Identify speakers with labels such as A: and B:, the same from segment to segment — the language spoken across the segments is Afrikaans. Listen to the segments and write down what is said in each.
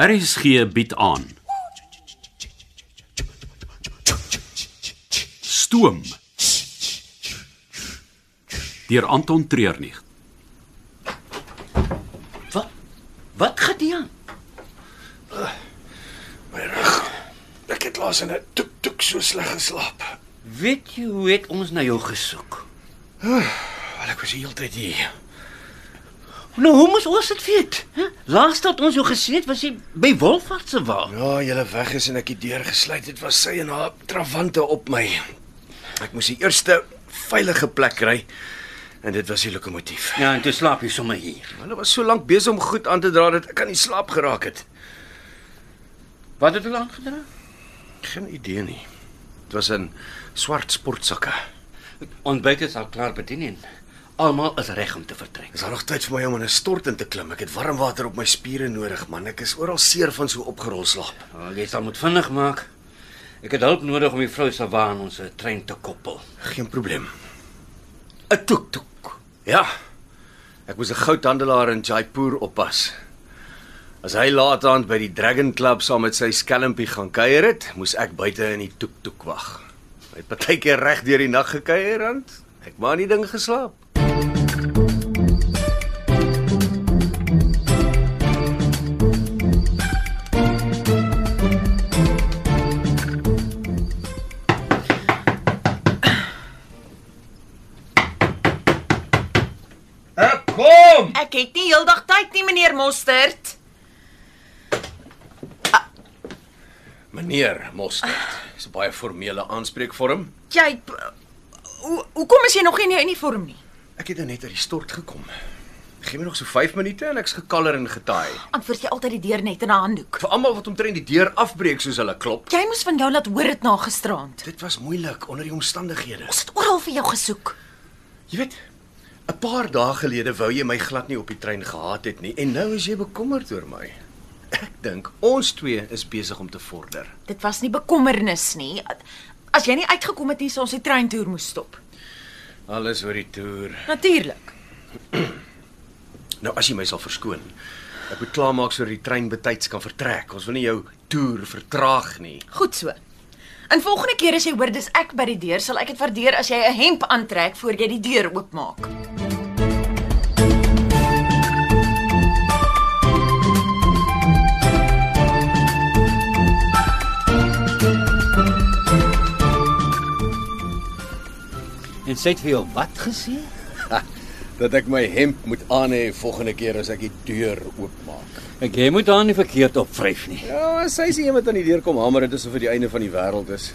A: RSG bied aan. Stoom. Deur Anton Treurnig.
B: Wat? Wat gaan dit aan?
C: My rug. Ek het laas in 'n toek toek so sleg geslaap.
B: Weet jy hoe het ons na jou gesoek?
C: Wel ek was heeltyd hier.
B: Nou hoe moes ons dit weet? Hè? Laas dat ons jou gesien het was jy by Wolfhard se wa.
C: Ja, julle weg is en ek die deur gesluit het, was sy en haar trawante op my. Ek moes die eerste veilige plek kry en dit was die lokomotief.
B: Ja, en toe slaap jy sommer hier.
C: Hulle was so lank besig om goed aan te dra dat ek aan die slaap geraak het.
B: Wat het hulle aangedra?
C: Geen idee nie. Dit was 'n swart sportsakke.
B: Ontbyt is al klaar bedien en almal is reg om te vertrek.
C: Is daar nog tyd vir my om in 'n stort in te klim? Ek het warm water op my spiere nodig, man. Ek is oral seer van so opgerol slaap.
B: Oh, jy sal moet vinnig maak. Ek het hulp nodig om die vrou se wa aan ons trein te koppel.
C: Geen probleem.
B: 'n Toek toek.
C: Ja. Ek moes 'n goudhandelaar in Jaipur oppas. As hy laataand by die Dragon Club saam met sy skelmpie gaan kuier het, moes ek buite in die toek-toek wag. Hy het partykeer reg deur die nag gekuier en ek maar nie ding geslaap.
D: Ek het nie heeldag tyd nie, meneer Mostert.
C: Meneer Mostert, dis 'n baie formele aanspreekvorm.
D: Jy hoe hoekom is jy nog nie in jou uniform nie?
C: Ek het nou net uit die stort gekom. Gee my nog so 5 minute en ek's gekaller en getaai.
D: Antwoord jy altyd die deur net in 'n handdoek.
C: Vir almal wat omtrent die deur afbreek soos hulle klop.
D: Jy moes van jou laat hoor dit na gisteraand.
C: Dit was moeilik onder die omstandighede.
D: Ons het oral vir jou gesoek.
C: Jy weet, 'n paar dae gelede wou jy my glad nie op die trein gehaat het nie en nou is jy bekommerd oor my. Ek dink ons twee is besig om te vorder.
D: Dit was nie bekommernis nie. As jy nie uitgekom het nie, sou ons die treintoer moes stop.
C: Alles oor die toer.
D: Natuurlik.
C: Nou as jy my sal verskoon. Ek moet klaarmaak sodat die trein betyds kan vertrek. Ons wil nie jou toer vertraag nie.
D: Goed so. En volgende keer as jy hoor dis ek by die deur, sal ek dit waardeer as jy 'n hemp aantrek voor jy die deur oopmaak.
B: En sê dit vir jou wat gesê?
C: Dat ek my hemp moet aanhê volgende keer as ek die deur oopmaak.
B: Ek jy moet daar nie verkeerd op vryf nie.
C: Ja, sy sê iemand aan die deur kom hamer, dit is of dit die einde van die wêreld is.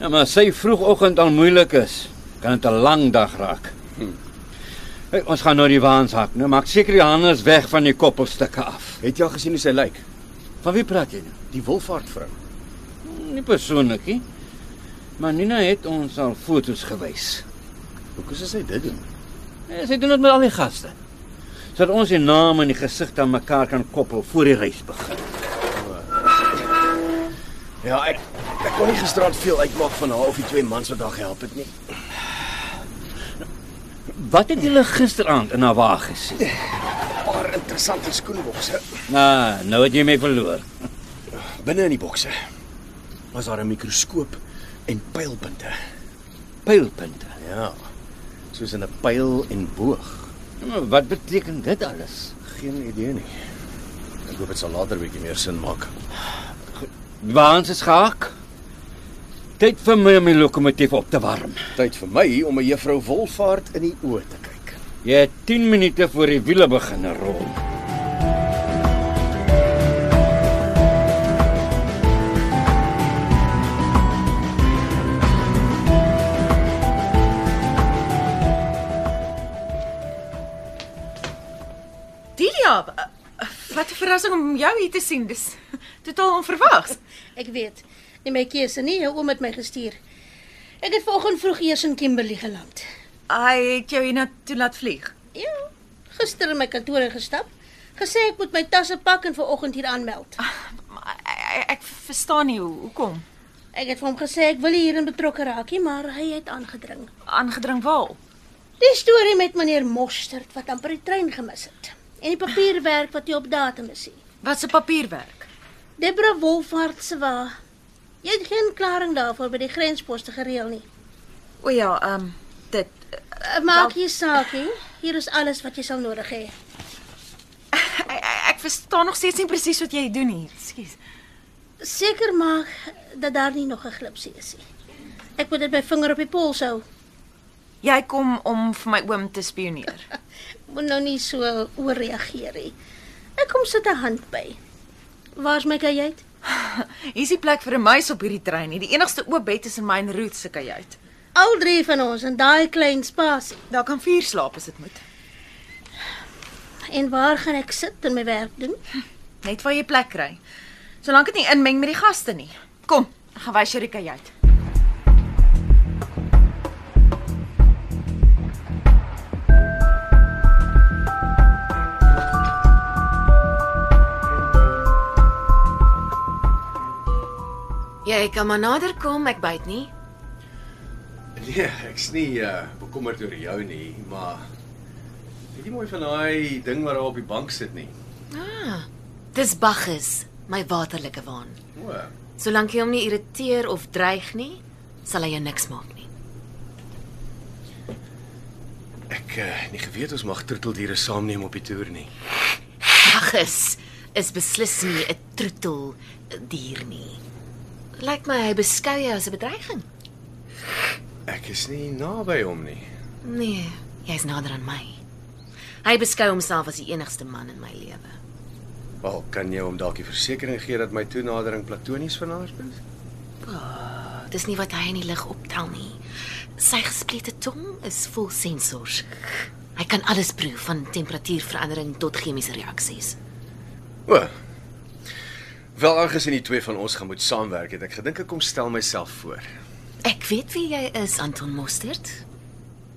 B: Ja, maar as sy vroegoggend al moeilik is, kan dit 'n lang dag raak. Hey, ons gaan nou die waans hak. Nou maak seker die hande is weg van die koppelstukke af.
C: Het jy al gesien hoe sy lyk?
B: Van wie praat jy nou?
C: Die wolfaartvrou.
B: Nie persoonlik nie. Maar Nina het ons al foto's gewys.
C: Hoekom sê sy dit doen?
B: Ja, sy doen dit met al die gaste. Sodat ons die name en die gesigte aan mekaar kan koppel voor die reis begin.
C: Ja, ek ek kon nie gisterand veel uitmaak van haar of die twee mans wat haar gehelp het nie.
B: Wat het julle gisteraand in haar wa gesien?
C: 'n Paar interessante skoenbokse
B: Nou, nou het jy my verloor.
C: binne in die bokse. Was daar 'n mikroskoop en pylpunte.
B: Pylpunte.
C: Ja. Soos in 'n pyl en boog.
B: Ja, maar wat beteken dit alles?
C: Geen idee nie. Ek hoop dit sal later bietjie meer sin maak.
B: Waans is gehak. Tyd vir my om die lokomotief op te warm.
C: Tyd vir my om 'n juffrou Wolfaart in die oë te kyk.
B: Jy het 10 minute voor die wiele begin rol.
D: Delia, wat 'n verrassing om jou hier te sien. Dis totaal onverwags.
E: Ek weet. Nie my keuse nie, jou oom het my gestuur. Ek het vanoggend vroeg eers in Kimberley geland.
D: Hy het jou hiernatoe laat vlieg.
E: Ja, gister in my kantoor ingestap. Gesê ek moet my tasse pak en vanoggend hier aanmeld.
D: Ah. Maar ek, ek verstaan nie hoe hoekom.
E: Ek het vir hom gesê ek wil nie hierin betrokke raak nie, maar hy het aangedring.
D: Aangedring waal.
E: Die storie met meneer Mostert wat amper die trein gemis het en die papierwerk wat nie op datum is nie.
D: Wat se papierwerk?
E: Debra Wolfhard se wa. Jy het geen klaring daarvoor by die grensposte gereël nie.
D: O ja, ehm um, dit
E: Eh, Maak jy saak nie. Hier is alles wat jy sal nodig hê.
D: ek, ek, ek verstaan nog steeds nie presies wat jy doen hier. Ekskuus.
E: Seker maak dat daar nie nog 'n glipsie is nie. Ek moet dit my vinger op die pols hou.
D: Jy kom om vir my oom te spioneer.
E: Moet nou nie so ooreageer nie. Ek kom sit 'n hand by. Waar's my kajuit?
D: Hier's die plek vir 'n muis op hierdie trein nie. Die enigste oop bed is in my en Ruth se kajuit.
E: Al drie van ons in daai klein spasie.
D: Daar kan vier slaap as dit moet.
E: En waar gaan ek sit en my werk doen?
D: Net waar jy plek kry. Solank dit nie inmeng met die gaste nie. Kom, ek gaan wys jou die kajuit.
F: Jy kan maar nader kom, ek byt nie.
C: Nee, ek's nie uh, bekommerd oor jou nie, maar weet jy mooi van daai ding wat daar op die bank sit nie.
F: Ah, dis Bacchus, my waterlike waan.
C: O.
F: Solank jy hom nie irriteer of dreig nie, sal hy jou niks maak nie.
C: Ek uh, nie geweet ons mag troeteldiere saamneem op die toer nie.
F: Bacchus is beslis nie 'n troetel dier nie. Lyk my hy beskou jou as 'n bedreiging.
C: Ek is nie naby hom nie.
F: Nee, jy's nader aan my. Hy beskou homself as die enigste man in my lewe.
C: Wel, kan jy hom dalk die versekering gee dat my toenadering platonies van haar is?
F: Dis nie wat hy in die lig optel nie. Sy gesplete tong is vol sensors. Hy kan alles proef van temperatuurverandering tot chemiese reaksies.
C: O. Wel aangesien die twee van ons gaan moet saamwerk, het ek gedink ek kom stel myself voor.
F: Ek weet wie jy is, Anton Mostert.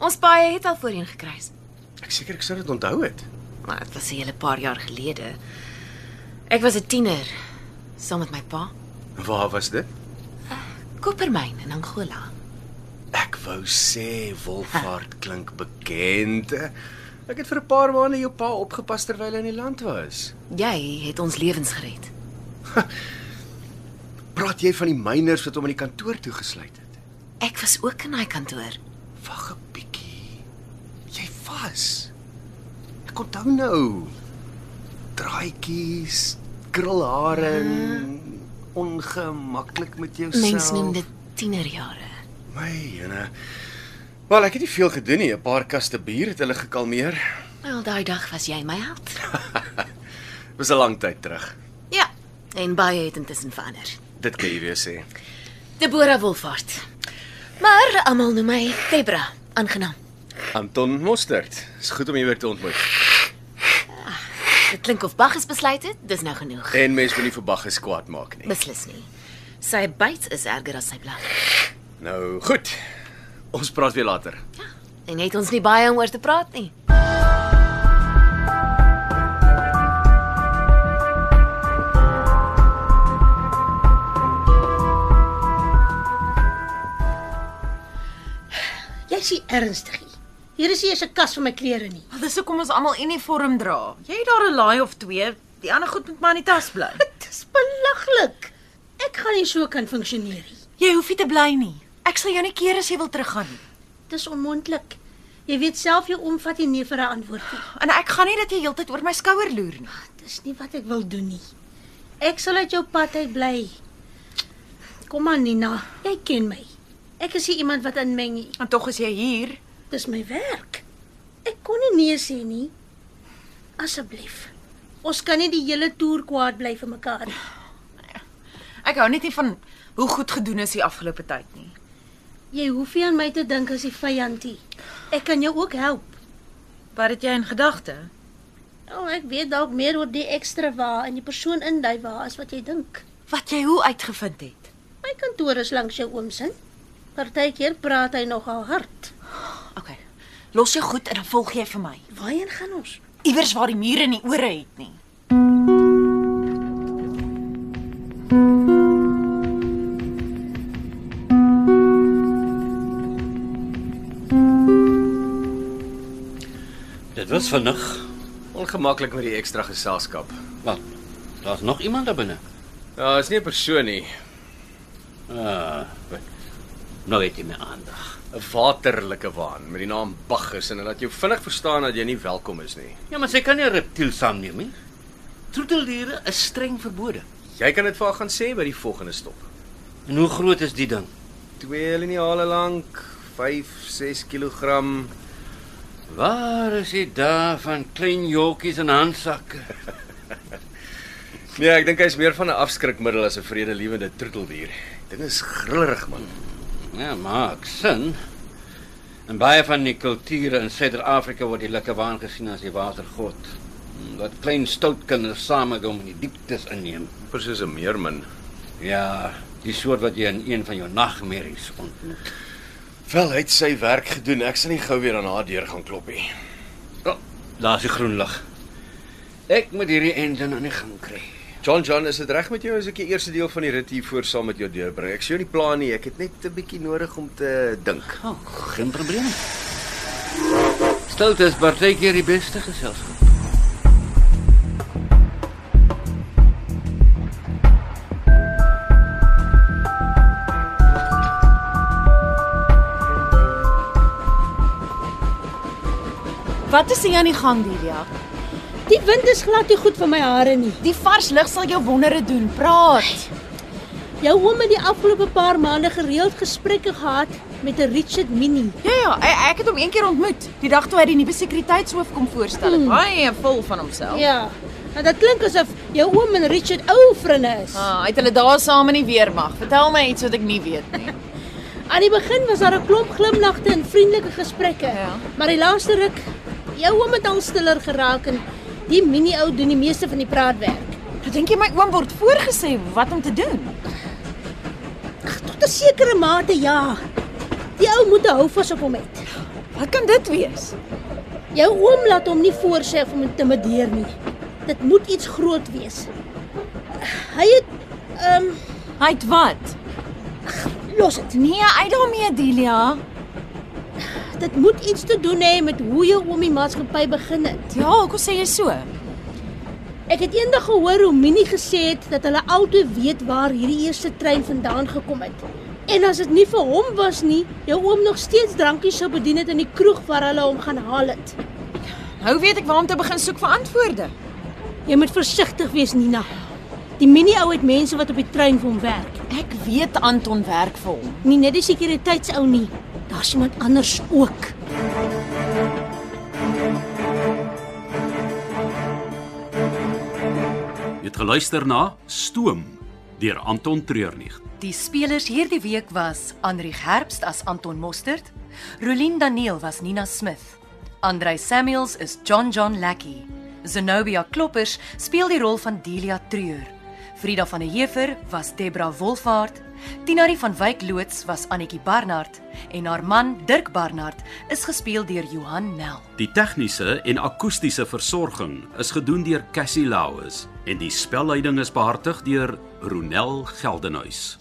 F: Ons paai het al voorheen gekruis.
C: Ek seker ek sou dit onthou het.
F: Maar dit was 'n hele paar jaar gelede. Ek was 'n tiener saam met my pa,
C: Waar was dit?
F: Kopermyn in Angola.
C: Ek wou sê Wolfhard klink bekend. Ek het vir 'n paar maande jou pa opgepas terwyl hy in die land was.
F: Jy het ons lewens gered.
C: Praat jy van die myners wat hom in die kantoor toe gesluit het?
F: Ek was ook in daai kantoor.
C: Wag 'n bietjie. Jy vas. Ek onthou nou. Draaitjies, krulhare en ongemaklik met jouself.
F: Ja. Mens noem dit tienerjare.
C: My jene. Wel, ek het nie veel gedoen nie. 'n Paar kaste bier het hulle gekalmeer.
F: Wel, daai dag was jy my held.
C: Was 'n lang tyd terug.
F: Ja, en baie het intussen verander.
C: Dit kan jy weer sê.
F: Deborah Wolfhard. Maar almal noem my Debra. Aangenaam.
C: Anton Mostert. Is goed om jou weer te ontmoet.
F: Dit klink of Bach is besluit het, dis nou genoeg.
C: En mens moet nie vir Bagges kwaad maak nie.
F: Beslis nie. Sy byt is erger as sy blaf.
C: Nou, goed. Ons praat weer later.
F: Ja, en het ons nie baie om oor te praat nie.
E: Jy sien ernstig. nie. Hier is nie eers 'n kas vir my klere nie.
D: Wel, dis hoekom ons almal uniform dra. Jy het daar 'n laai of twee, die ander goed moet maar in die tas bly.
E: Dis belaglik. Ek gaan nie so kan funksioneer nie.
D: Jy hoef nie te bly nie. Ek sal jou nie keer as jy wil teruggaan nie.
E: Dis onmoontlik. Jy weet self jou omvat nie nee vir 'n antwoord nie.
D: En ek gaan nie dat jy heeltyd oor my skouer loer nie.
E: Dis nie wat ek wil doen nie. Ek sal uit jou pad uit bly. Kom aan Nina, jy ken my. Ek is nie iemand wat inmeng nie.
D: En tog is jy hier.
E: Dis my werk. Ek kon nie nee sê nie. Asseblief. Ons kan nie die hele toer kwaad bly vir mekaar nie.
D: Ek hou net nie van hoe goed gedoen is die afgelope tyd nie.
E: Jy hoef nie aan my te dink as die vyandie. Ek kan jou ook help.
D: Wat het jy in gedagte?
E: Al ek weet dalk meer oor die ekstra wa en die persoon in daai wa as wat jy dink.
D: Wat jy hoe uitgevind het?
E: My kantoor is langs jou oom se. Partykeer praat hy nogal hard.
D: OK. Los jou goed en dan volg jy vir my.
E: Waarheen gaan ons?
D: Iewers waar die mure nie ore het nie.
B: Dit was vinnig.
C: Ongemaklik met die ekstra geselskap.
B: Wat? Daar's nog iemand daar binne.
C: Ja, is nie 'n persoon nie,
B: Nou het jy my aandag.
C: 'n waterlike waan met die naam Baggus en dit laat jou vinnig verstaan dat jy nie welkom is nie.
B: Ja, maar sy kan nie 'n reptiel saamneem nie. Troeteldiere is streng verbode.
C: Jy kan dit vir haar gaan sê by die volgende stop.
B: En hoe groot is die ding?
C: Twee liniale lank, 5, 6 kg.
B: Waar is dit daar van klein jokkies en handsakke?
C: Nee, ek dink hy's meer van 'n afskrikmiddel as 'n vredelewende troeteldier. Dit is grillerig man.
B: Ja, maak sin. En baie van die kulture in Suider-Afrika word die likkewaan gesien as die watergod. Dat klein stout kinders saamgekom in die dieptes inneem.
C: Presies 'n meermin.
B: Ja, die soort wat jy in een van jou nagmerries ontmoet.
C: Wel, hy het sy werk gedoen. Ek sal nie gou weer aan haar deur gaan klop nie.
B: Oh, daar's die groen lig. Ek moet hierdie engine aan die gang kry.
C: John John, is dit reg met jou as ek die eerste deel van die rit hier voor saam met jou deurbring? Ek sien jou nie plan nie. Ek het net 'n bietjie nodig om te dink.
B: Oh, geen probleem. Stilte is partykeer die beste geselskap.
D: Wat is hier aan die gang, Lidia?
E: Die wind is glad nie goed vir my hare nie.
D: Die vars lug sal jou wondere doen. Praat.
E: Jou oom het die afgelope paar maande gereeld gesprekke gehad met 'n Richard Minnie.
D: Ja ja, e- ek het hom een keer ontmoet, die dag toe hy die nuwe sekuriteitshoof kom voorstel. Mm. Baie vol van homself.
E: Ja. En dit klink asof jou oom en Richard ou vriende is.
D: Ah, hy het hulle daar saam in die weermag. Vertel my iets wat ek nie weet nie.
E: Aan die begin was daar 'n klomp glimlagte en vriendelike gesprekke.
D: Ja.
E: Maar die laaste ruk, jou oom het al stiller geraak en die Minnie ou doen die meeste van die praatwerk.
D: Ek dink jy my oom word voorgesê wat om te doen.
E: Ag, tot 'n sekere mate ja. Die ou moet 'n houvas op hom hê.
D: Wat kan dit wees?
E: Jou oom laat hom nie voorsê of hom intimideer nie. Dit moet iets groot wees. Hy het ehm um,
D: Hy't wat?
E: los dit.
D: Nee, uit daarmee, Delia.
E: Dit moet iets te doen hê met hoe jou oom die maatskappy begin het.
D: Ja, hoekom sê jy so?
E: Ek het eendag gehoor hoe Minnie gesê het dat hulle altyd weet waar hierdie eerste trein vandaan gekom het. En as dit nie vir hom was nie, jou oom nog steeds drankies sou bedien het in die kroeg waar hulle hom gaan haal het.
D: Nou weet ek waar om te begin soek vir antwoorde.
E: Jy moet versigtig wees, Nina. Die Minnie ou het mense wat op die trein vir hom werk.
D: Ek weet Anton werk vir hom.
E: Nie net die sekuriteitsou nie. Daar's iemand anders ook.
A: Jy het geluister na Stoom deur Anton Treurnig.
G: Die spelers hierdie week was Anrich Herbst as Anton Mostert, Rolien Daniel was Nina Smith, Andrei Samuels is John John Lackey, Zenobia Kloppers speel die rol van Delia Treur, Frida van der Heever was Debra Wolfhard, Tinari van Wyk loods was Annetjie Barnard en haar man Dirk Barnard is gespeel deur Johan Nel.
A: Die tegniese en akoestiese versorging is gedoen deur Cassie Lauis en die spelleiding is behartig deur Ronel Geldenhuys.